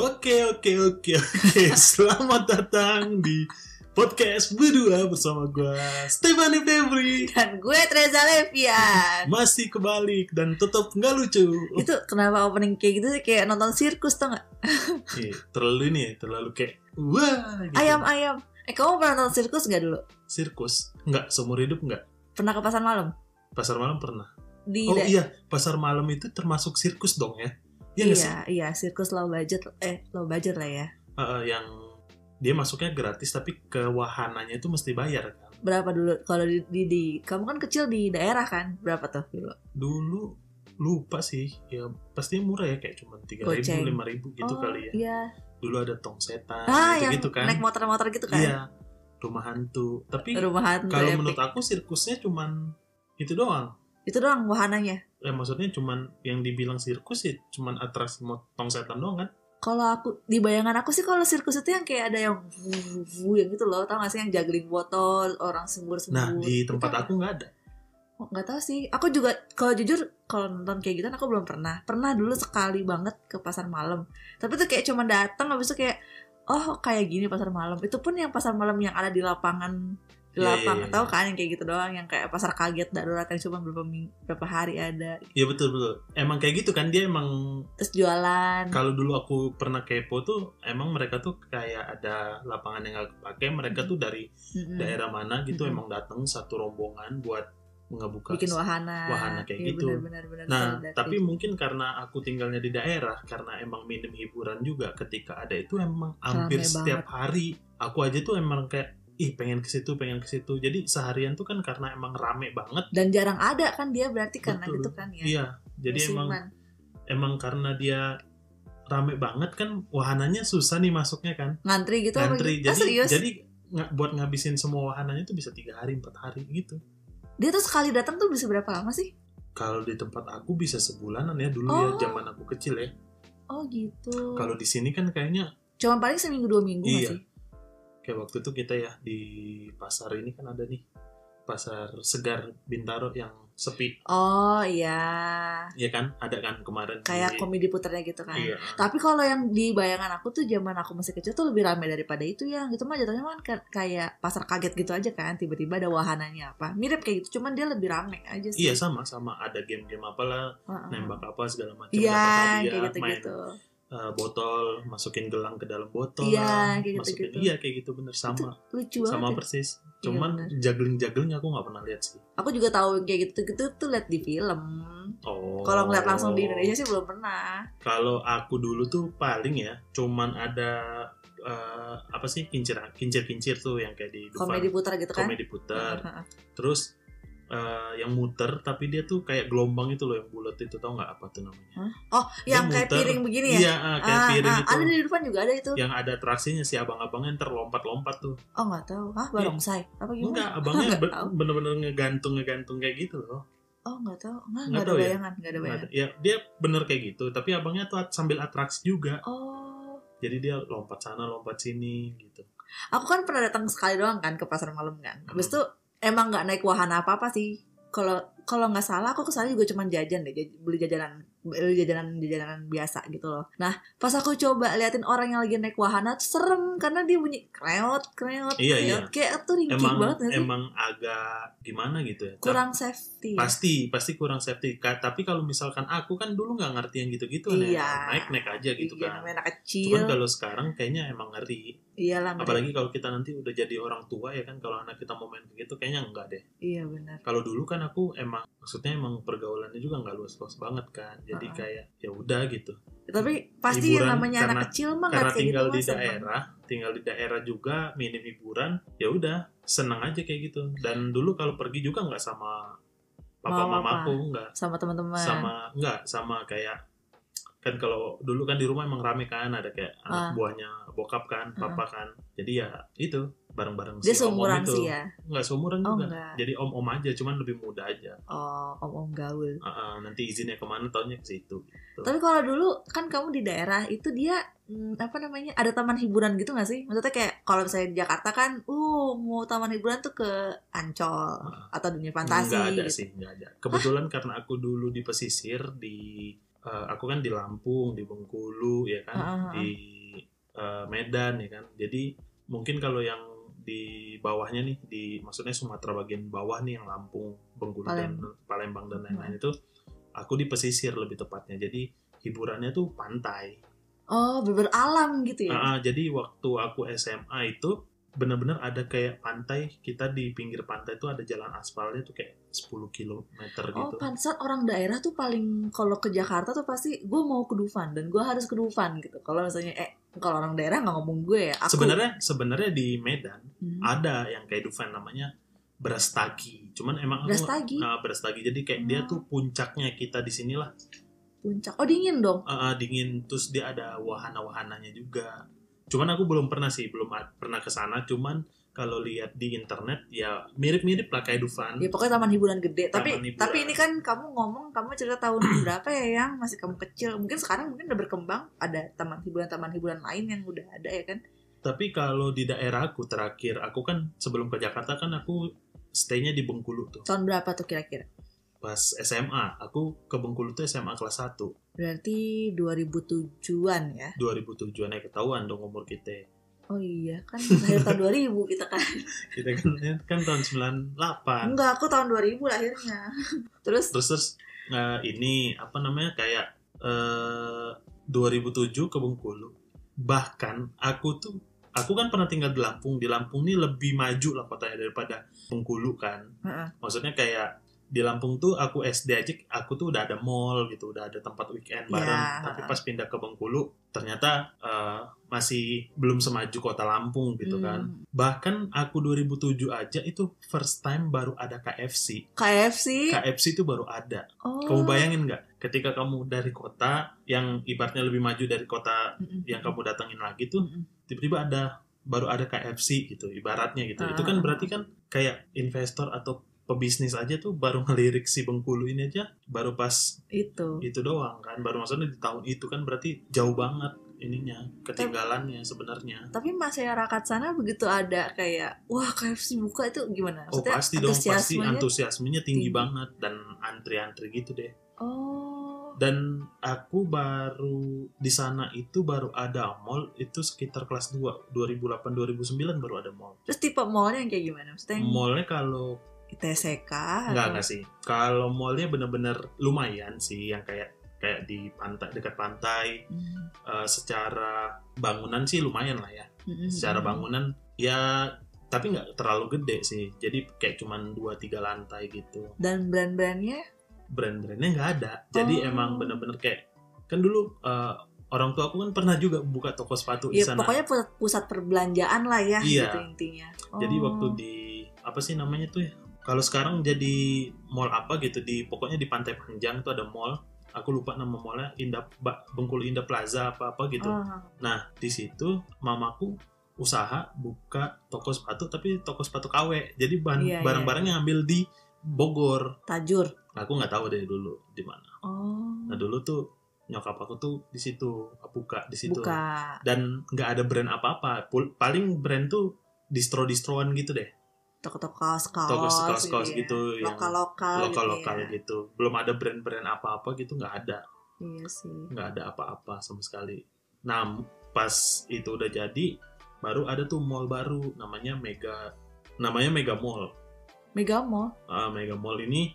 Oke oke oke. Selamat datang di podcast berdua bersama gue Stefani Febri. Dan gue Treza Levian. Masih kebalik dan tetap nggak lucu. Itu kenapa opening kayak gitu sih, kayak nonton sirkus tau gak? Oke, terlalu ini ya, terlalu kayak wah. gitu. Ayam-ayam. Eh kamu pernah nonton sirkus gak dulu? Sirkus nggak seumur hidup nggak. Pernah ke pasar malam? Pasar malam pernah. Di Oh iya, pasar malam itu termasuk sirkus dong ya? Iya nggak sih? iya, iya, sirkus low budget. Eh, low budget lah ya. Eh, eh, yang dia masuknya gratis tapi ke wahananya itu mesti bayar kan. Berapa dulu? Kalau di, di, di- kamu kan kecil di daerah kan? Berapa tuh dulu? Dulu lupa sih ya pastinya murah ya kayak cuma tiga ribu Goceng. lima ribu gitu Oh, kali ya Iya. dulu ada tong setan Ah, yang gitu, gitu kan naik motor-motor gitu kan? iya rumah hantu tapi Rumah hantu kalau epic. menurut aku sirkusnya cuman itu doang Itu doang wahananya. eh maksudnya cuman yang dibilang sirkus ya cuman atraksi mo- tong setan doang kan Kalau aku di bayangan aku sih kalau sirkus itu yang kayak ada yang wuh, wuh, yang gitu loh, tau gak sih yang juggling botol, orang sembur-sembur. nah di Itu tempat apa? aku nggak ada Oh, nggak tahu sih aku juga kalau jujur kalau nonton kayak gitu aku belum pernah pernah dulu sekali banget ke pasar malam tapi tuh kayak cuma datang habis itu kayak oh kayak gini pasar malam itu pun yang pasar malam yang ada di lapangan Iya, di iya, lapang iya. tahu kan yang kayak gitu doang yang kayak pasar kaget darurat yang cuma beberapa ming- beberapa hari ada ya betul betul emang kayak gitu kan dia emang terus jualan kalau dulu aku pernah kepo tuh emang mereka tuh kayak ada lapangan yang nggak kepake mereka tuh dari Mm-mm. daerah mana gitu Mhm. emang datang satu rombongan buat ngebuka bikin wahana Iya, wahana kayak gitu. benar, benar, Nah, benar, tapi mungkin karena aku tinggalnya di daerah, karena emang minim hiburan juga ketika ada itu emang hampir Rame setiap hari. Aku aja tuh emang kayak ih pengen ke situ, pengen ke situ. Jadi seharian tuh kan karena emang rame banget. dan jarang ada kan dia berarti karena Betul. gitu kan ya kan. Iya. Jadi emang musiman. emang karena dia rame banget kan wahananya susah nih masuknya kan. ngantri gitu apa Ngantri. gitu? Ah, Jadi serius jadi nga- buat ngabisin semua wahananya tuh bisa tiga hari, empat hari gitu. dia tuh sekali datang tuh bisa berapa lama sih Kalau di tempat aku bisa sebulanan ya dulu ya Oh. zaman aku kecil ya. oh gitu Kalau di sini kan kayaknya Cuman paling seminggu dua minggu nggak Iya. sih? kayak waktu itu kita ya di pasar ini kan ada nih pasar segar Bintaro yang sepi Oh iya, ya kan ada kan kemarin kayak di- komedi puternya gitu kan. iya Tapi kalau yang di bayangan aku tuh zaman aku masih kecil tuh lebih ramai daripada itu ya. Gitu mah jatuhnya kan ka- kayak pasar kaget gitu aja kan. Tiba-tiba ada wahananya apa. Mirip kayak gitu, cuman dia lebih ramai aja sih. iya sama sama ada game-game apalah Heeh. nembak apa segala macam Iya, dapat hadiah, kayak main gitu-gitu. eh, botol masukin gelang ke dalam botol Iya, lah, kayak masukin gitu-gitu. iya kayak gitu bener sama Lucu sama banget. ya. persis cuman bener. juggling-juggling aku nggak pernah lihat sih Aku juga tahu yang kayak gitu-gitu tuh liat di film. oh Kalau ngeliat langsung di Indonesia sih belum pernah. kalau aku dulu tuh paling ya cuman ada eh, apa sih kincir kincir kincir tuh yang kayak di Dufan. Komedi puter gitu kan. komedi putar Heeh. terus eh, yang muter tapi dia tuh kayak gelombang itu loh yang bulat itu tau nggak apa tuh namanya Oh, yang Dia kayak muter. piring begini ya? iya ah, kayak Ah, piring ah, itu Ya. Ada di depan juga ada itu. yang ada atraksinya si abang-abangnya ntar lompat-lompat tuh Oh nggak tahu, ah barongsai apa gimana? Iya. enggak abangnya Nggak be- tahu. bener-bener ngegantung ngegantung kayak gitu loh Oh nggak tahu, nggak Nggak nggak ada tahu ya? bayangan, nggak ada bayangan. Nggak ada- ya dia bener kayak gitu tapi abangnya tuh at- sambil atraksi juga Oh, jadi dia lompat sana lompat sini gitu aku kan pernah datang sekali doang kan ke pasar malam kan. Habis Hmm. itu emang nggak naik wahana apa apa sih. Kalau kalau nggak salah aku kesana juga cuma jajan deh, jaj- beli jajanan beli jajanan jajanan biasa gitu loh. Nah pas aku coba liatin orang yang lagi naik wahana tuh serem karena dia bunyi kreot kreot Iya, kreot. kayak tuh ringkih emang banget nggak sih. emang agak gimana gitu ya Tapi- kurang safety. ya? pasti pasti kurang safety Ka- tapi kalau misalkan aku kan dulu nggak ngerti yang gitu-gitu Iya. naik naik aja gitu Iya, kan namanya anak cuman kecil. kalau sekarang kayaknya emang ngeri Iyalah, mereka- apalagi kalau kita nanti udah jadi orang tua ya kan kalau anak kita mau main begitu kayaknya enggak deh iya benar. kalau dulu kan aku emang maksudnya emang pergaulannya juga nggak luas-luas banget kan jadi Heeh. kayak ya udah gitu tapi pasti yang Hiburan, namanya karena- anak kecil mah nggak karena kayak gitu tinggal di Mas, emang. daerah tinggal di daerah juga minim hiburan ya udah seneng aja kayak gitu dan dulu kalau pergi juga nggak sama papa Mama, mamaku nggak sama teman-teman sama enggak sama kayak kan kalau dulu kan di rumah emang rame kan ada kayak anak Ah. buahnya bokap kan papa kan jadi ya itu bareng-bareng dia si om-om seumuran itu. sih ya enggak seumuran oh juga enggak jadi om-om aja cuman lebih muda aja oh om om gaul Ah, ah, nanti izinnya kemana tahunnya ke situ Betul. tapi kalau dulu kan kamu di daerah itu dia hmm, apa namanya ada taman hiburan gitu nggak sih maksudnya kayak kalau misalnya di Jakarta kan uh mau taman hiburan tuh ke Ancol Ah. atau dunia fantasi enggak ada gitu. sih enggak ada kebetulan karena aku dulu di pesisir di eh, aku kan di Lampung di Bengkulu ya kan Ah, ah, ah. di eh, Medan ya kan. Jadi mungkin kalau yang di bawahnya nih di maksudnya Sumatera bagian bawah nih yang Lampung, Bengkulu dan Palembang dan lain-lain Hmm. itu aku di pesisir lebih tepatnya. Jadi hiburannya tuh pantai. Oh, bener alam gitu ya. Ah, ah, jadi waktu aku SMA itu benar-benar ada kayak pantai kita di pinggir pantai itu ada jalan aspalnya tuh kayak 10 km Oh, gitu. pantesan orang daerah tuh paling kalau ke Jakarta tuh pasti gue mau ke Dufan dan gue harus ke Dufan gitu. Kalau misalnya eh kalau orang daerah nggak ngomong gue ya. Aku, sebenarnya sebenarnya di Medan Hmm. ada yang kayak Dufan namanya Brastagi. Cuman emang aku Brastagi? Ah, Brastagi. Jadi kayak dia Hmm. tuh puncaknya kita di sinilah puncak. Oh dingin dong. Ah, ah, dingin terus dia ada wahana-wahananya juga. Cuman aku belum pernah sih, belum a- pernah ke sana cuman kalau lihat di internet ya mirip-mirip lah kayak Dufan. Ya pokoknya taman hiburan gede. tapi Hmm. Taman hiburan. tapi ini kan kamu ngomong kamu cerita tahun berapa ya yang masih kamu kecil. Mungkin sekarang mungkin udah berkembang ada taman hiburan taman hiburan lain yang udah ada ya kan. Tapi kalau di daerahku terakhir, aku kan sebelum ke Jakarta kan aku stay-nya di Bengkulu tuh. Tahun berapa tuh kira-kira? Pas SMA, aku ke Bengkulu tuh SMA kelas 1, Berarti 2007-an ya. 2007 naik ketahuan dong umur kita. Oh iya, kan lahir tahun 2000 kita kan. Kita kan, kan tahun 98. Enggak, aku tahun 2000 lahirnya. Terus Terus terus eh, ini apa namanya kayak eh 2007 ke Bengkulu. Bahkan aku tuh aku kan pernah tinggal di Lampung. Di Lampung ini lebih maju lah kotanya daripada Bengkulu kan. Heeh. Maksudnya kayak di Lampung tuh aku SD aja aku tuh udah ada mall gitu, udah ada tempat weekend Iya, bareng. heeh. Tapi pas pindah ke Bengkulu ternyata eh, masih belum semaju kota Lampung gitu kan. hmm, Bahkan aku 2007 aja itu first time baru ada KFC. KFC. KFC itu baru ada. oh. kan. Kamu bayangin nggak? Ketika kamu dari kota yang ibaratnya lebih maju dari kota Mm-mm. yang ya, kamu datangin lagi tuh, Mm-mm. tiba-tiba ada baru ada KFC gitu, ibaratnya gitu. Itu kan Ah. berarti kan kayak investor atau pebisnis aja tuh baru ngelirik si Bengkulu ini aja, baru pas Itu. itu doang kan, baru maksudnya di tahun itu kan berarti jauh banget ininya ketinggalannya sebenarnya. Tapi masyarakat sana begitu ada kayak wah KFC buka itu gimana? Oh Maksudnya pasti dong, pasti antusiasmenya- antusiasmenya tinggi, tinggi. banget dan antri-antri gitu deh. Oh. Dan aku baru di sana itu baru ada mall itu sekitar kelas 2 2008-2009 baru ada mall. Terus tipe mallnya yang kayak gimana? Maksudnya yang Mallnya kalau ITCK Enggak, atau- enggak sih. Kalau mallnya bener-bener lumayan sih yang kayak kayak di pantai dekat pantai Hmm. Eh, secara bangunan sih lumayan lah ya. Mm-mm. Secara bangunan ya tapi nggak terlalu gede sih. Jadi kayak cuman 2-3 lantai gitu. Dan brand-brandnya Brand-brandnya nggak ada. Jadi Oh. emang bener-bener kayak kan dulu eh, orang tua aku kan pernah juga buka toko sepatu di ya sana. pokoknya pusat, pusat perbelanjaan lah ya Iya. gitu intinya. Jadi Oh. waktu di apa sih namanya tuh ya? Kalau sekarang jadi mall apa gitu di pokoknya di Pantai Panjang tuh ada mall. Aku lupa nama mallnya Indah Ba- Bengkulu Indah Plaza apa apa gitu. Ah. Nah di situ mamaku usaha buka toko sepatu tapi toko sepatu KW. Jadi bahan- Iya, iya. barang-barangnya ambil di Bogor. Nah, tajur. Aku nggak tahu dari dulu di mana. Oh. Nah dulu tuh nyokap aku tuh di situ buka di situ buka. dan nggak ada brand apa-apa. Pul- Paling brand tuh distro-distroan gitu deh. toko-toko kaos-kaos toko kaos-kaos ya. gitu yang lokal-lokal lokal-lokal gitu, ya. gitu belum ada brand-brand apa-apa gitu nggak ada iya sih nggak ada apa-apa sama sekali nah pas itu udah jadi baru ada tuh mall baru namanya Mega namanya Mega Mall mega mall Ah, Mega Mall ini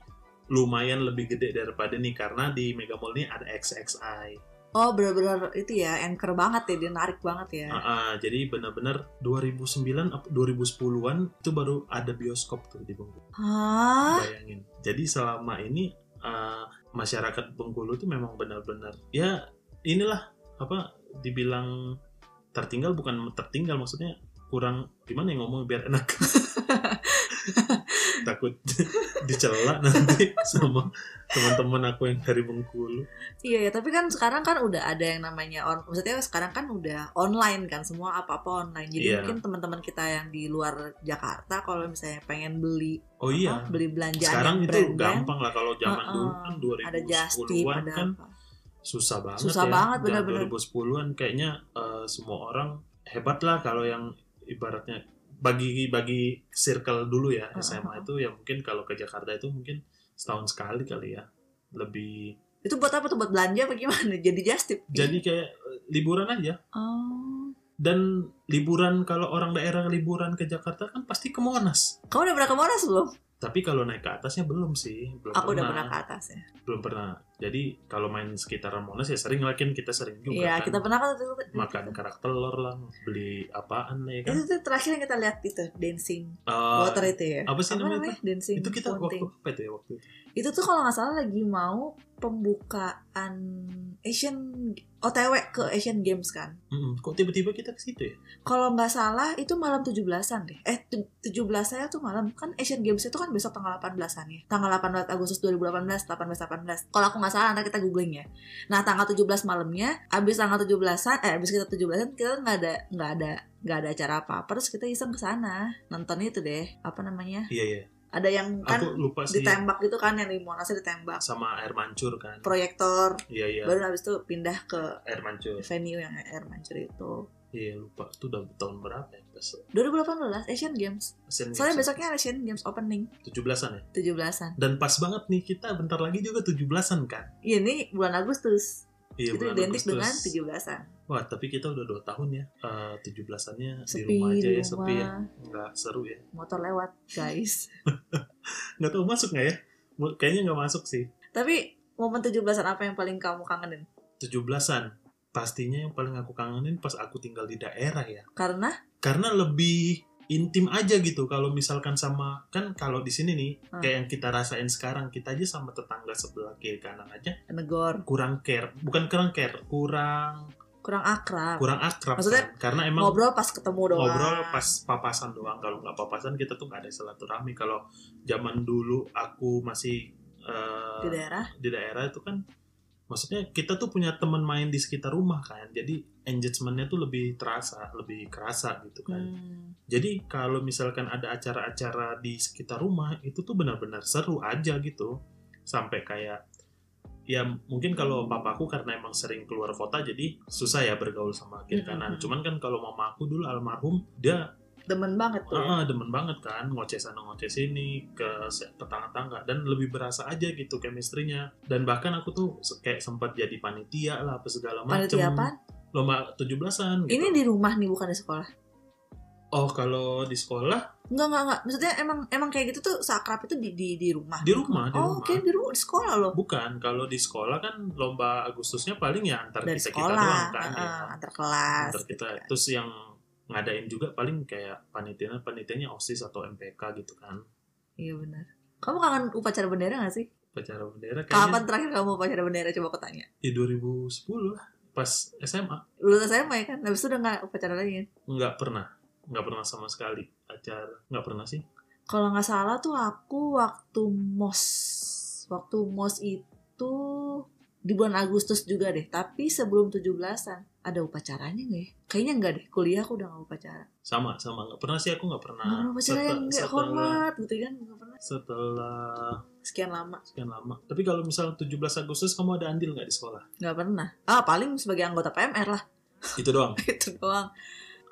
lumayan lebih gede daripada nih karena di Mega Mall ini ada XXI oh bener-bener itu ya anchor banget ya dia narik banget ya Ah, ah, jadi benar-benar 2009 apa 2010-an itu baru ada bioskop tuh di Bengkulu hah bayangin jadi selama ini uh, masyarakat Bengkulu tuh memang benar-benar ya inilah apa dibilang tertinggal bukan tertinggal maksudnya kurang gimana ya ngomong biar enak takut dicela nanti sama teman-teman aku yang dari Bengkulu iya ya tapi kan sekarang kan udah ada yang namanya on maksudnya sekarang kan udah online kan semua apa-apa online jadi Iya. mungkin teman-teman kita yang di luar Jakarta kalau misalnya pengen beli oh iya apa, beli belanjaan sekarang yang itu brand-brand, gampang lah kalau zaman dulu Heeh. kan ada just tip 2010-an ada kan apa susah banget Susah ya. banget, Dan bener-bener. 2010-an kayaknya eh, semua orang hebat lah kalau yang ibaratnya bagi bagi circle dulu ya Heeh. SMA itu ya mungkin kalau ke Jakarta itu mungkin setahun sekali kali ya lebih Iya. itu buat apa tuh buat belanja apa gimana jadi just tip jadi kayak eh, liburan aja oh dan liburan kalau orang daerah liburan ke Jakarta kan pasti ke Monas Kamu udah pernah ke Monas belum? tapi kalau naik ke atasnya belum sih belum Aku udah pernah ke atas ya. belum pernah jadi kalau main sekitaran Monas ya sering lah Kin, kita sering juga Iya, kan kita pernah kan itu, makan kerak telur lah beli apaan ya kan itu tuh terakhir yang kita lihat itu dancing Eh, Eh, water itu ya. apa sih namanya itu? Dancing itu kita fountain. waktu apa itu ya waktu itu itu tuh kalau nggak salah lagi mau pembukaan Asian OTW ke Asian Games kan. Mm-mm. kok tiba-tiba kita ke situ ya Kalau nggak salah itu malam 17-an deh. Eh tu- 17 saya tuh malam kan Asian Games itu kan besok tanggal 18-an ya. Tanggal 18 Agustus 2018, 18 18. Kalau aku nggak salah nanti kita googling ya. Nah, tanggal 17 malamnya abis tanggal 17-an eh abis kita 17-an kita nggak ada nggak ada nggak ada acara apa-apa terus kita iseng ke sana nonton itu deh apa namanya iya iya ada yang aku kan lupa sih ditembak gitu kan yang di Monasnya ditembak sama air mancur kan proyektor iya iya baru habis itu pindah ke air mancur venue yang air mancur itu iya lupa itu udah tahun berapa ya pas 2018 Asian Games Iya, Asian Games. soalnya besoknya Asian Games opening 17-an ya 17-an dan pas banget nih kita bentar lagi juga 17-an kan Iya, ini bulan Agustus iya itu bulan identik Agustus. dengan 17-an wah tapi kita udah 2 tahun ya Eh, 17-annya di sepi rumah aja di ya sepi ya rumah. nggak seru ya motor lewat guys nggak tahu masuk nggak ya Mu- kayaknya nggak masuk sih tapi momen 17-an apa yang paling kamu kangenin 17-an pastinya yang paling aku kangenin pas aku tinggal di daerah ya karena karena lebih intim aja gitu kalau misalkan sama kan kalau di sini nih Hmm. kayak yang kita rasain sekarang kita aja sama tetangga sebelah kiri kanan aja negor kurang care bukan kurang care kurang kurang akrab kurang akrab Maksudnya, kan. karena emang ngobrol pas ketemu doang ngobrol pas papasan doang kalau nggak papasan kita tuh nggak ada silaturahmi kalau zaman dulu aku masih eh, di daerah di daerah itu kan maksudnya kita tuh punya teman main di sekitar rumah kan jadi engagementnya tuh lebih terasa lebih kerasa gitu kan Hmm. jadi kalau misalkan ada acara-acara di sekitar rumah itu tuh benar-benar seru aja gitu sampai kayak ya mungkin kalau papaku karena emang sering keluar kota jadi susah ya bergaul sama kiri kanan Mm-mm. cuman kan kalau mamaku dulu almarhum dia demen banget tuh ya. Ah, demen banget kan ngoceh sana ngoceh sini ke se- ke tangga-tangga dan lebih berasa aja gitu chemistry-nya dan bahkan aku tuh se- kayak sempat jadi panitia lah apa segala macam panitia apaan? lomba 17-an gitu. ini di rumah nih bukan di sekolah oh kalau di sekolah Enggak, enggak, enggak. Maksudnya emang emang kayak gitu tuh seakrab itu di di, di rumah. di rumah di rumah oh, oke, di rumah di sekolah loh. bukan kalau di sekolah kan lomba Agustusnya paling ya antar Dari kita kita sekolah, doang kan ya. heeh, antar kelas. antar kita iya. gitu kan. terus yang ngadain juga paling kayak panitia panitianya osis atau MPK gitu kan Iya benar. Kamu kangen upacara bendera gak sih? upacara bendera Kapan kayaknya terakhir kamu upacara bendera coba aku tanya. di 2010 lah pas SMA Lulus SMA ya kan, habis itu udah gak upacara lagi kan? Nggak pernah. Nggak pernah sama sekali acara. Nggak pernah sih. Kalau nggak salah tuh aku waktu mos, waktu mos itu di bulan Agustus juga deh, tapi sebelum 17-an ada upacaranya nggak ya? Kayaknya nggak deh, kuliah aku udah nggak upacara. Sama, sama. Nggak pernah sih aku nggak pernah. Nggak pernah upacara Sete- yang Ah, nggak hormat gitu kan, nggak pernah. Setelah sekian lama sekian lama. Tapi kalau misalnya 17 Agustus kamu ada andil nggak di sekolah? nggak pernah ah paling sebagai anggota PMR lah Itu doang. itu doang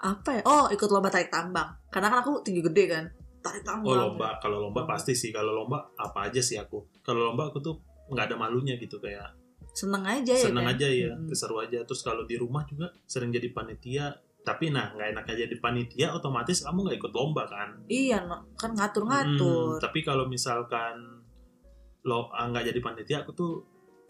apa ya oh ikut lomba tarik tambang karena kan aku tinggi gede kan tarik tambang Oh lomba. Kalau lomba pasti sih. Kalau lomba apa aja sih aku. Kalau lomba aku tuh nggak ada malunya gitu kayak seneng aja ya seneng kan? aja ya Mm. keseru aja terus kalau di rumah juga sering jadi panitia tapi nah nggak enak aja di panitia otomatis kamu nggak ikut lomba kan iya no. kan ngatur Hmm, ngatur tapi kalau misalkan lo ah, nggak jadi panitia, aku tuh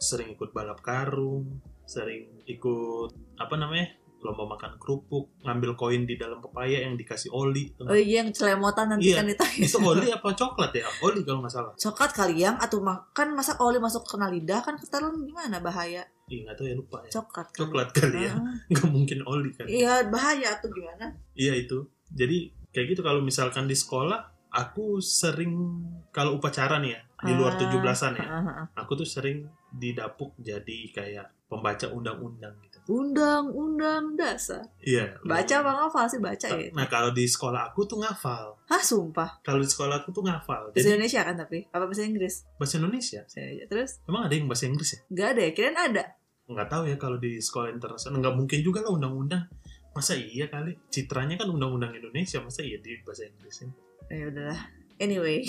sering ikut balap karung, sering ikut apa namanya lomba makan kerupuk, ngambil koin di dalam pepaya yang dikasih oli. oh iya yang celemotan nanti Iya. kan ditanya Itu oli apa coklat ya? Oli kalau nggak salah. coklat kali yang atau makan masa oli masuk ke lidah kan ketelan gimana bahaya Ih, nggak tahu ya lupa ya. coklat kali. Coklat kali ya, Ah, nggak mungkin oli kan? iya bahaya atau gimana Iya itu. Jadi kayak gitu kalau misalkan di sekolah, aku sering kalau upacara nih ya di luar Ah, 17-an ya, ah, ah, ah. aku tuh sering didapuk jadi kayak pembaca undang-undang gitu. undang-undang dasar Iya. baca bang apa sih baca ya Nah kalau di sekolah aku tuh ngafal. Hah sumpah Kalau di sekolah aku tuh ngafal. bahasa Jadi Indonesia kan tapi apa bahasa Inggris bahasa Indonesia. Saya aja. Terus Emang ada yang bahasa Inggris ya? nggak ada ya? Kirain ada. Nggak tahu ya kalau di sekolah internasional. Nggak mungkin juga lah undang-undang. Masa iya kali? Citranya kan undang-undang Indonesia. Masa iya di bahasa Inggris? Eh, Ya udahlah. Anyway.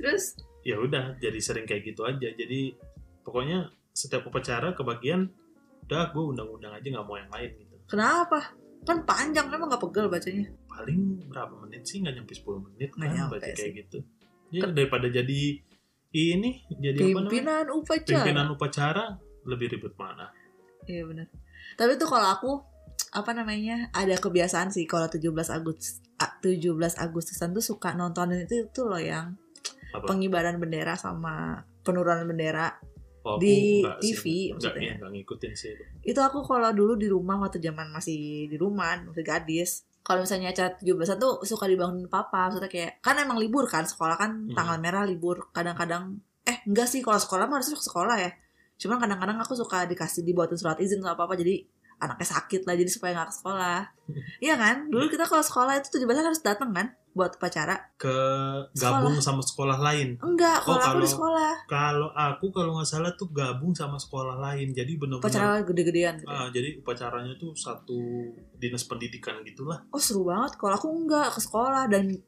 Terus Ya udah, jadi sering kayak gitu aja. Jadi pokoknya setiap upacara kebagian, udah gue undang-undang aja nggak mau yang lain gitu. Kenapa? Kan panjang, emang nggak pegel bacanya. paling berapa menit sih nggak nyampe 10 menit Nggak kan nyampe baca kayak sih. gitu ya daripada jadi ini jadi apa namanya Pimpinan upacara. pimpinan upacara lebih ribet mana Iya benar. Tapi tuh kalau aku apa namanya ada kebiasaan sih kalau 17 Agustus 17 Agustusan tuh suka nontonin itu itu loh yang Apa? pengibaran bendera sama penurunan bendera Kalau Oh, aku Di nggak sih, TV nggak maksudnya. ya, nggak ngikutin sih itu. itu aku kalau dulu di rumah waktu zaman masih di rumah masih gadis kalau misalnya acara 17 tuh suka dibangunin papa maksudnya kayak kan emang libur kan sekolah kan Hmm. tanggal merah libur kadang-kadang eh enggak sih kalau sekolah mah harusnya sekolah ya cuman kadang-kadang aku suka dikasih dibuatin surat izin sama papa jadi anaknya sakit lah jadi supaya nggak ke sekolah iya kan dulu kita kalau sekolah itu 17 harus datang kan buat upacara ke Eh, gabung sama sekolah lain enggak Oh, kalau aku di kalau- sekolah kalau aku kalau nggak salah tuh gabung sama sekolah lain jadi bener-bener upacara gede-gedean gitu. Ah, jadi upacaranya tuh satu dinas pendidikan gitulah oh seru banget kalau aku enggak ke sekolah dan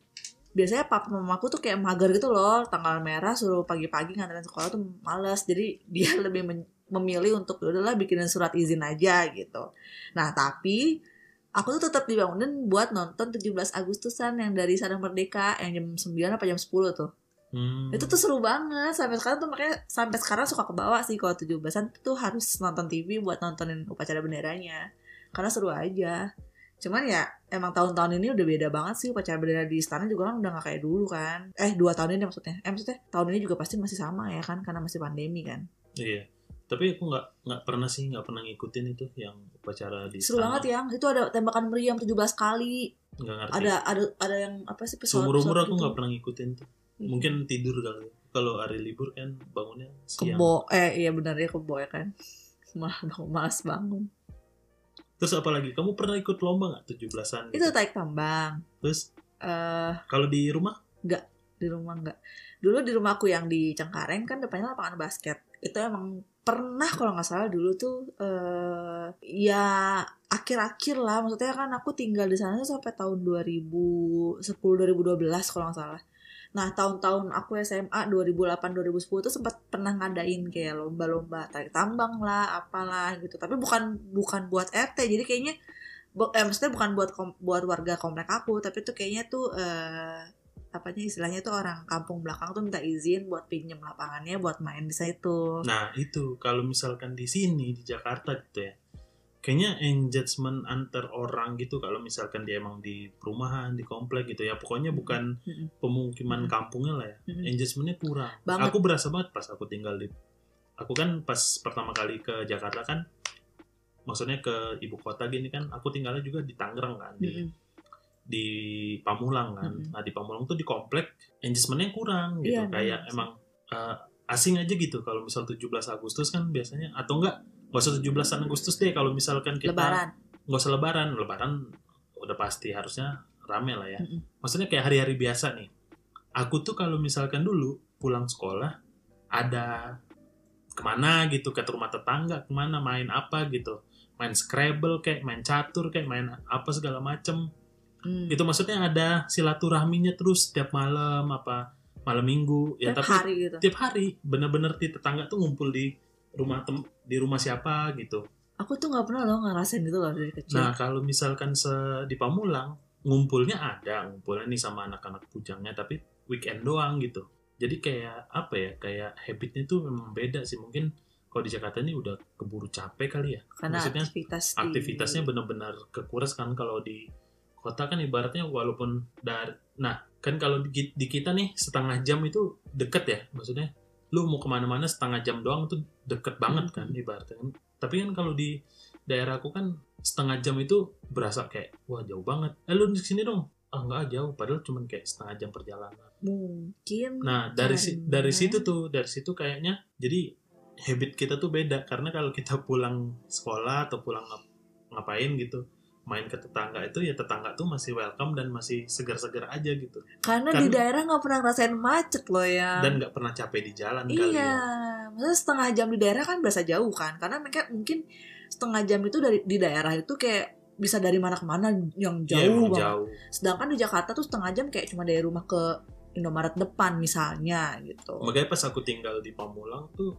biasanya papa mama aku tuh kayak mager gitu loh tanggal merah suruh pagi-pagi nganterin sekolah tuh males jadi dia lebih men- memilih untuk "Ya udahlah bikinin surat izin aja gitu nah tapi aku tuh tetap dibangunin buat nonton 17 Agustusan yang dari Sadang Merdeka yang jam 9 apa jam 10 tuh Hmm. itu tuh seru banget sampai sekarang tuh makanya sampai sekarang suka ke bawah sih kalau 17-an tuh harus nonton TV buat nontonin upacara benderanya karena seru aja cuman ya emang tahun-tahun ini udah beda banget sih upacara bendera di istana juga kan udah gak kayak dulu kan eh dua tahun ini maksudnya eh maksudnya tahun ini juga pasti masih sama ya kan karena masih pandemi kan iya tapi aku nggak nggak pernah sih nggak pernah ngikutin itu yang upacara di seru banget ya itu ada tembakan meriam 17 kali nggak ngerti ada ada ada yang apa sih pesawat seumur umur aku gitu. Hmm. nggak pernah ngikutin tuh mungkin tidur kali ya. kalau hari libur kan bangunnya siang kebo eh iya benar ya kebo ya kan malah bangun malas bangun terus apalagi kamu pernah ikut lomba nggak 17-an itu gitu? tarik tambang terus eh kalau di rumah di rumah enggak dulu di rumah aku yang di Cengkareng kan depannya lapangan basket itu emang pernah kalau nggak salah dulu tuh eh ya akhir-akhir lah maksudnya kan aku tinggal di sana tuh sampai tahun 2010 2012 kalau nggak salah nah tahun-tahun aku SMA 2008 2010 tuh sempat pernah ngadain kayak lomba-lomba tarik tambang lah apalah gitu tapi bukan bukan buat RT jadi kayaknya bu- eh, maksudnya bukan buat kom- buat warga komplek aku tapi tuh kayaknya tuh eh apanya istilahnya tuh orang kampung belakang tuh minta izin buat pinjem lapangannya buat main di situ. nah itu kalau misalkan di sini di Jakarta gitu ya kayaknya engagement antar orang gitu kalau misalkan dia emang di perumahan di komplek gitu ya pokoknya bukan Mm-mm. pemukiman Mm. kampungnya lah ya Mm-mm. engagementnya kurang Banget. aku berasa banget pas aku tinggal di aku kan pas pertama kali ke Jakarta kan maksudnya ke ibu kota gini kan aku tinggalnya juga di Tangerang kan di Mm-mm. di Pamulang kan. Mm-mm. Nah di Pamulang tuh di komplek engagementnya kurang gitu. Iya, Kayak benar. emang eh, asing aja gitu. Kalau misal 17 Agustus kan biasanya atau enggak nggak usah 17 Agustus deh. Kalau misalkan kita Lebaran. nggak usah Lebaran, Lebaran udah pasti harusnya rame lah ya. Mm-mm. Maksudnya kayak hari-hari biasa nih. Aku tuh kalau misalkan dulu pulang sekolah ada kemana gitu ke rumah tetangga kemana main apa gitu main scrabble kayak main catur kayak main apa segala macem Mm. itu Gitu, maksudnya ada silaturahminya terus setiap malam apa malam minggu ya Tiap tapi hari gitu. tiap hari bener-bener di tetangga tuh ngumpul di rumah tem di rumah siapa gitu Aku tuh nggak pernah loh ngerasain gitu loh dari kecil. nah kalau misalkan se di Pamulang ngumpulnya ada ngumpulnya nih sama anak-anak pujangnya tapi weekend doang gitu jadi kayak apa ya kayak habitnya tuh memang beda sih mungkin kalau di Jakarta ini udah keburu capek kali ya Karena maksudnya aktivitas di- aktivitasnya benar-benar kekuras kan kalau di kota kan ibaratnya walaupun dari nah kan kalau di, di kita nih setengah jam itu deket ya maksudnya lu mau kemana-mana setengah jam doang tuh deket banget kan ibaratnya tapi kan kalau di daerahku kan setengah jam itu berasa kayak wah jauh banget eh lu di sini dong ah nggak jauh padahal cuman kayak setengah jam perjalanan mungkin. Nah, dari si- dari karena- situ tuh, dari situ kayaknya jadi habit kita tuh beda karena kalau kita pulang sekolah atau pulang ngap- ngapain gitu, main ke tetangga itu ya tetangga tuh masih welcome dan masih segar-segar aja gitu. Karena karena- di daerah nggak pernah ngerasain macet loh ya. Dan nggak pernah capek di jalan kali Iya, ya. maksudnya setengah jam di daerah kan berasa jauh kan, karena mereka mungkin setengah jam itu dari di daerah itu kayak bisa dari mana ke mana yang Iya, jauh emang banget. jauh. Sedangkan di Jakarta tuh setengah jam kayak cuma dari rumah ke Indomaret depan misalnya gitu. Makanya pas aku tinggal di Pamulang tuh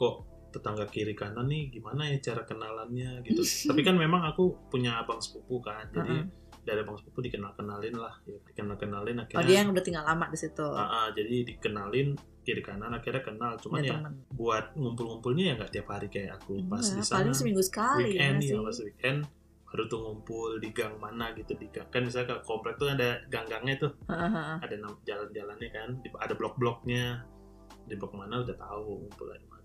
kok tetangga kiri kanan nih gimana ya cara kenalannya gitu tapi kan memang aku punya abang sepupu kan jadi dari abang sepupu dikenal kenalin lah ya, dikenal kenalin Oh akhirnya dia yang udah tinggal lama di situ. Ah, ah, jadi dikenalin kiri kanan akhirnya kenal cuman Punya ya temen. buat ngumpul-ngumpulnya ya nggak tiap hari kayak aku pas di Enggak, Iya, paling sana seminggu sekali weekend ya ya, sih. pas weekend baru tuh ngumpul di gang mana gitu di gang kan misalnya ke komplek tuh ada gang-gangnya tuh Heeh, heeh. ada nam- jalan-jalannya kan di- ada blok-bloknya di blok mana udah tahu ngumpul di mana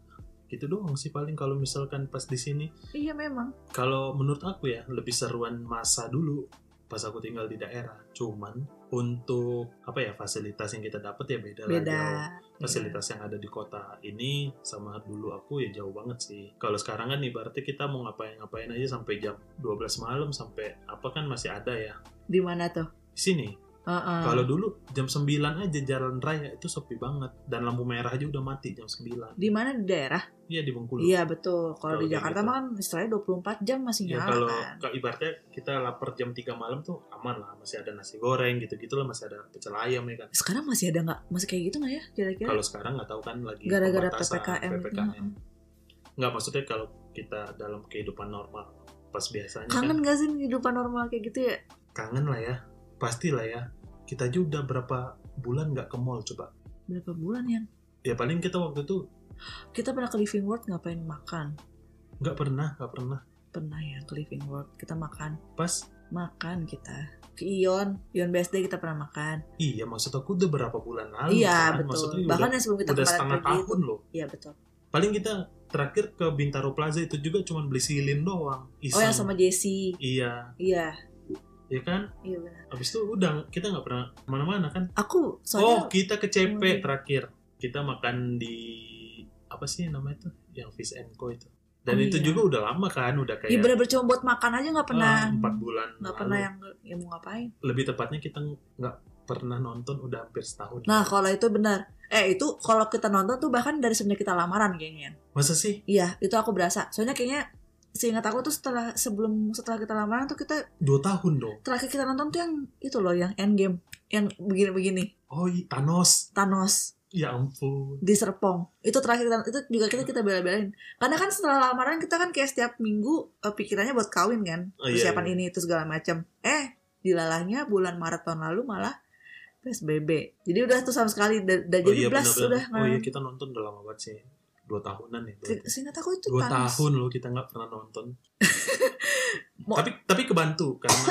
gitu doang sih paling kalau misalkan pas di sini Iya memang. kalau menurut aku ya lebih seruan masa dulu pas aku tinggal di daerah cuman untuk apa ya fasilitas yang kita dapat ya beda, lah Beda. Iya. jauh. fasilitas yang ada di kota ini sama dulu aku ya jauh banget sih kalau sekarang kan ibaratnya kita mau ngapain-ngapain aja sampai jam 12 malam sampai apa kan masih ada ya Di mana tuh? di sini Heeh. kalau dulu jam 9 aja jalan raya itu sepi banget dan lampu merah aja udah mati jam 9 di mana di daerah? iya di Bengkulu Iya betul. Kalau Kalau di kayak Jakarta gitu. mah kan istilahnya 24 jam masih Ya nyala kalau kan. kalau ibaratnya kita lapar jam 3 malam tuh aman lah masih ada nasi goreng gitu-gitu lah masih ada pecel ayam ya kan. Sekarang masih ada nggak? Masih kayak gitu nggak ya kira-kira? Kalau sekarang nggak tahu kan lagi Gara-gara pembatasan, PPKM. PPKM. Hmm. Nggak maksudnya kalau kita dalam kehidupan normal pas biasanya Kangen kan gak sih kehidupan normal kayak gitu ya? kangen lah ya. Pastilah ya. Kita juga udah berapa bulan nggak ke mall coba. Berapa bulan yang Ya paling kita waktu itu kita pernah ke Living World ngapain makan? nggak pernah, nggak pernah. Pernah ya ke Living World kita makan Pas makan kita ke Ion Ion BSD kita pernah makan. iya maksud aku udah berapa bulan lalu iya kan? betul. Maksudnya Bahkan udah, yang sebelum kita udah kemarin setengah pergi itu. tahun loh. Iya betul. paling kita terakhir ke Bintaro Plaza itu juga cuma beli silin doang Oh iseng yang sama Jesse. iya Iya ya kan iya benar. abis itu udah kita nggak pernah kemana-mana kan oh Aku soalnya kita ke CP Hmm. terakhir kita makan di apa sih namanya tuh yang fish and co itu dan Oh, itu iya. juga udah lama kan udah ya kayak bener-bener cuma buat makan aja nggak pernah ah, empat bulan nggak lalu. pernah yang yang mau ngapain. lebih tepatnya kita nggak pernah nonton udah hampir setahun Nah kalau itu benar. Eh itu kalau kita nonton tuh bahkan dari semenjak kita lamaran kayaknya. masa sih Iya itu aku berasa. Soalnya kayaknya seingat aku tuh setelah sebelum setelah kita lamaran tuh kita dua tahun dong terakhir kita nonton tuh yang itu loh yang Endgame yang begini-begini oh iya, Thanos Thanos ya ampun di Serpong itu terakhir kita- itu juga kita kita bela-belain karena kan setelah lamaran kita kan kayak setiap minggu eh, pikirannya buat kawin kan Oh, iya, persiapan iya. ini itu segala macam eh dilalahnya bulan Maret tahun lalu malah PSBB jadi udah tuh sama sekali dan dan oh jadi nah. iya belas benar-benar. udah oh iya nggak- kita nonton udah lama banget sih dua tahunan ya berarti. Se- seingat aku itu dua Thanos. tahun loh kita nggak pernah nonton Mau- tapi tapi kebantu karena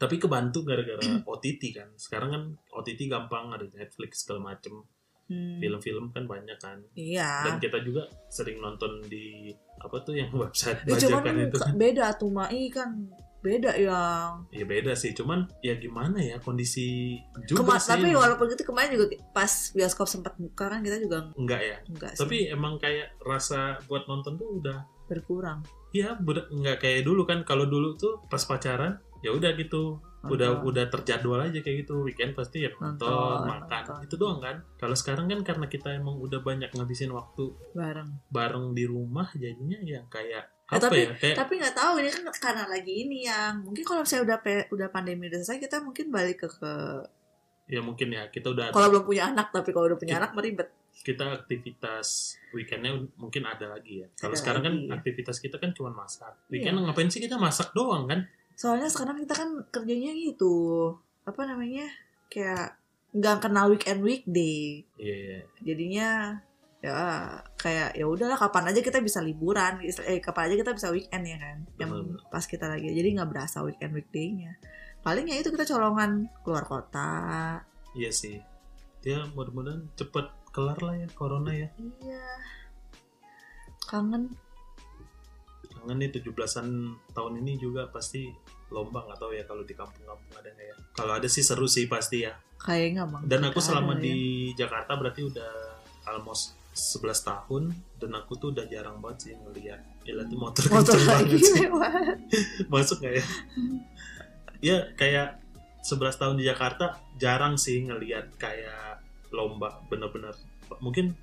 tapi kebantu gara-gara OTT kan sekarang kan OTT gampang ada Netflix segala macem Hmm, film-film kan banyak kan dan iya kita juga sering nonton di apa tuh yang website ya, cuman bajakan itu ke- beda tuh Mai kan beda yang ya beda sih cuman ya gimana ya kondisi juga Kema- sih tapi walaupun gitu kemarin juga pas bioskop sempat buka kan kita juga enggak ya enggak sih, tapi emang kayak rasa buat nonton tuh udah berkurang ya ber- nggak kayak dulu kan kalau dulu tuh pas pacaran ya udah gitu udah Nonton. udah terjadwal aja kayak gitu weekend pasti ya nonton, Nonton, makan nonton. itu doang kan kalau sekarang kan karena kita emang udah banyak ngabisin waktu bareng bareng di rumah jadinya yang kayak Eh, apa tapi- ya kayak tapi nggak tahu ini kan karena lagi ini yang mungkin kalau saya udah pe- udah pandemi udah selesai kita mungkin balik ke, ke ya mungkin ya kita udah kalau belum punya anak tapi kalau udah Kita- punya anak meribet kita aktivitas weekendnya mungkin ada lagi ya kalau Ada sekarang kan lagi, ya. aktivitas kita kan cuma masak Iya. weekend ngapain sih kita masak doang kan soalnya sekarang kita kan kerjanya gitu apa namanya kayak nggak kenal weekend weekday iya jadinya ya kayak ya udahlah kapan aja kita bisa liburan eh kapan aja kita bisa weekend ya kan yang Benar, pas kita lagi jadi nggak berasa weekend weekdaynya paling ya itu kita colongan keluar kota iya sih ya mudah-mudahan cepet kelar lah ya corona ya iya kangen Jangan nih 17-an tahun ini juga pasti lomba nggak tahu ya kalau di kampung-kampung ada nggak ya. Kalau ada sih seru sih pasti ya. kayaknya bang Dan aku Kita selama ada ya. di Jakarta berarti udah almost 11 tahun dan aku tuh udah jarang banget sih ngeliat Gila tuh motor, motor kenceng lagi banget sih. lewat Masuk nggak ya? ya kayak 11 tahun di Jakarta jarang sih ngeliat kayak lomba bener-bener mungkin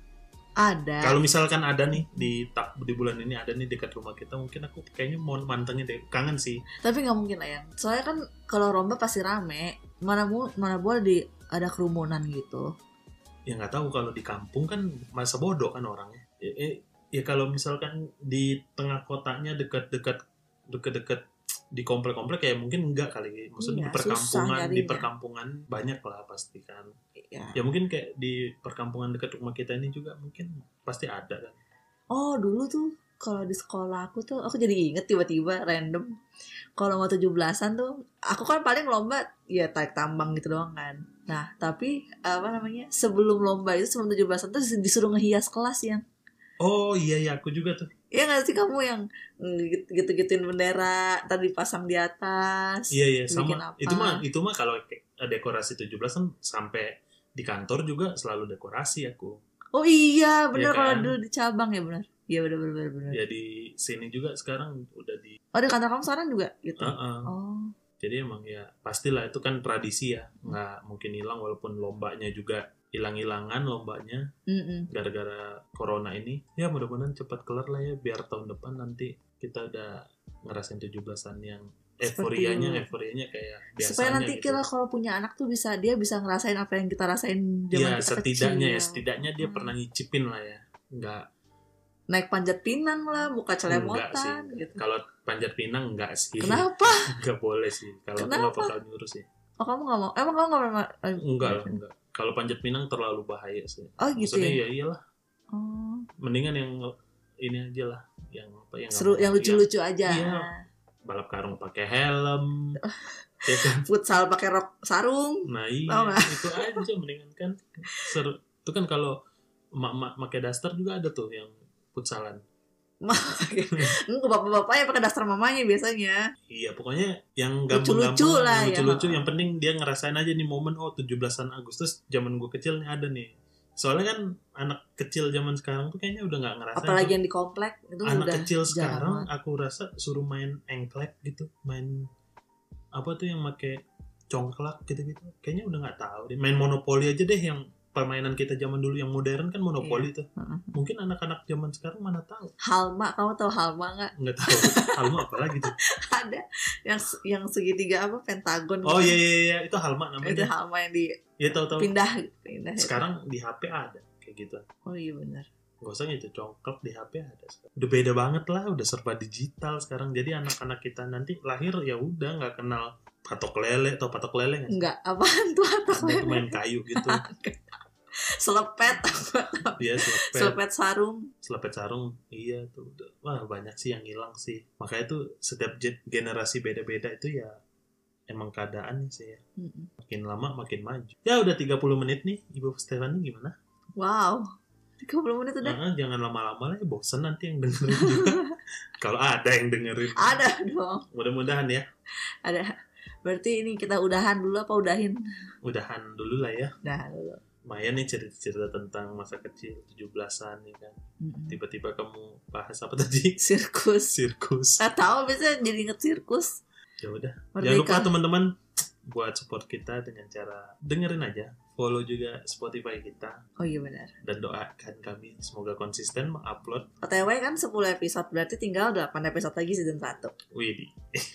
ada kalau misalkan ada nih di ta- di bulan ini ada nih dekat rumah kita mungkin aku kayaknya mau mantengin deh kangen sih tapi nggak mungkin lah ya soalnya kan kalau romba pasti rame mana mu mana boleh di ada kerumunan gitu ya nggak tahu kalau di kampung kan masa bodoh kan orangnya Ya, eh, ya kalau misalkan di tengah kotanya dekat-dekat dekat-dekat di komplek-komplek ya mungkin enggak kali maksudnya di Iya, susah perkampungan di nyarinya. perkampungan banyak lah pasti kan Ya. ya mungkin kayak di perkampungan dekat rumah kita ini juga mungkin pasti ada kan Oh dulu tuh kalau di sekolah aku tuh aku jadi inget tiba-tiba random kalau mau 17-an tuh aku kan paling lomba ya tarik tambang gitu doang kan. Nah tapi apa namanya sebelum lomba itu sebelum 17-an tuh disuruh ngehias kelas yang oh iya iya aku juga tuh ya nggak sih kamu yang mm, gitu-gituin bendera tadi pasang di atas. iya iya bikin sama apa? itu mah itu mah kalau kayak dekorasi 17 kan sampai di kantor juga selalu dekorasi aku Oh iya Iya bener kalau kan? dulu di cabang ya bener. Iya bener bener bener. bener. ya di sini juga sekarang udah di Oh di kantor kamu sekarang juga gitu. Heeh. Oh jadi emang ya pastilah itu kan tradisi ya nggak mungkin hilang walaupun lombanya juga hilang-hilangan lombanya mm gara-gara corona ini ya mudah-mudahan cepat kelar lah ya biar tahun depan nanti kita udah ngerasain 17-an yang Seperti euforianya dulu. euforianya kayak biasanya supaya nanti gitu. kita kalau punya anak tuh bisa dia bisa ngerasain apa yang kita rasain zaman ya kita setidaknya ya kecil. setidaknya dia Hmm. pernah ngicipin lah ya nggak naik panjat pinang lah buka enggak sih Iya. celemotan gitu kalau panjat pinang nggak sih kenapa nggak boleh sih kalau aku nggak Kenapa? bakal nyuruh sih oh kamu nggak mau emang kamu nggak pernah eh, enggak lah enggak kalau panjat pinang terlalu bahaya sih oh gitu maksudnya ya? ya iyalah oh, mendingan yang ini aja lah yang apa yang seru yang Iya, lucu-lucu aja Iya. balap karung pakai helm ya kan futsal pakai rok sarung nah iya Tau nggak? itu aja mendingan kan seru itu kan kalau emak-emak pakai daster juga ada tuh yang futsalan Enggak, hmm, bapak-bapaknya pakai daster mamanya biasanya iya pokoknya yang Lucu-lucu gampang-gampang lah yang ya. lucu-lucu yang penting dia ngerasain aja nih momen oh 17-an Agustus zaman gue kecil nih ada nih soalnya kan anak kecil zaman sekarang tuh kayaknya udah nggak ngerasain apalagi tuh. yang di komplek itu anak udah kecil jarang sekarang aku rasa suruh main engklek gitu main apa tuh yang make congklak gitu-gitu kayaknya udah nggak tahu deh main monopoli aja deh yang permainan kita zaman dulu yang modern kan monopoli tuh Heeh. mungkin anak-anak zaman sekarang mana tahu halma kamu tahu halma nggak nggak tahu halma apa lagi tuh ada yang yang segitiga apa pentagon oh iya gitu. iya iya itu halma itu namanya halma yang di ya tahu-tahu pindah pindah sekarang di HP ada kayak gitu oh iya benar Gak usah gitu, congklak di HP ada sekarang. Udah beda banget lah, udah serba digital sekarang. Jadi anak-anak kita nanti lahir ya udah nggak kenal patok lele atau patok lele nggak sih? enggak apaan tuh atas Ada tuh main kayu gitu. selepet Dia selepet, selepet sarung selepet sarung. Iya tuh. udah. Wah banyak sih yang hilang sih. Makanya tuh setiap gen- generasi beda-beda itu ya emang keadaan sih ya. Mm-mm. Makin lama makin maju. Ya udah 30 menit nih, Ibu Stefani gimana? wow 30 menit udah Ah, jangan lama-lama lah, ya, bosen nanti yang dengerin juga. Kalau ada yang dengerin. ada dong Mudah-mudahan ya. ada berarti ini kita udahan dulu apa udahin udahan dulu lah ya udahan dulu lumayan nih cerita-cerita tentang masa kecil 17-an ya kan Mm-mm. tiba-tiba kamu bahas apa tadi sirkus sirkus Nggak tahu biasanya jadi inget sirkus ya udah jangan lupa Ah, merdeka teman-teman buat support kita dengan cara dengerin aja follow juga Spotify kita oh iya benar dan doakan kami semoga konsisten mengupload OTW kan 10 episode berarti tinggal 8 episode lagi season 1 Widi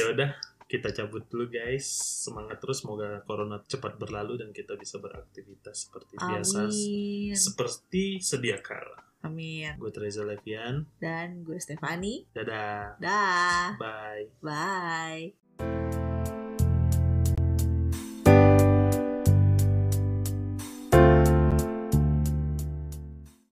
ya udah kita cabut dulu guys semangat terus semoga corona cepat berlalu dan kita bisa beraktivitas seperti biasa amin seperti sedia kala amin gue Teresa Levian dan gue Stefani dadah dah Bye. bye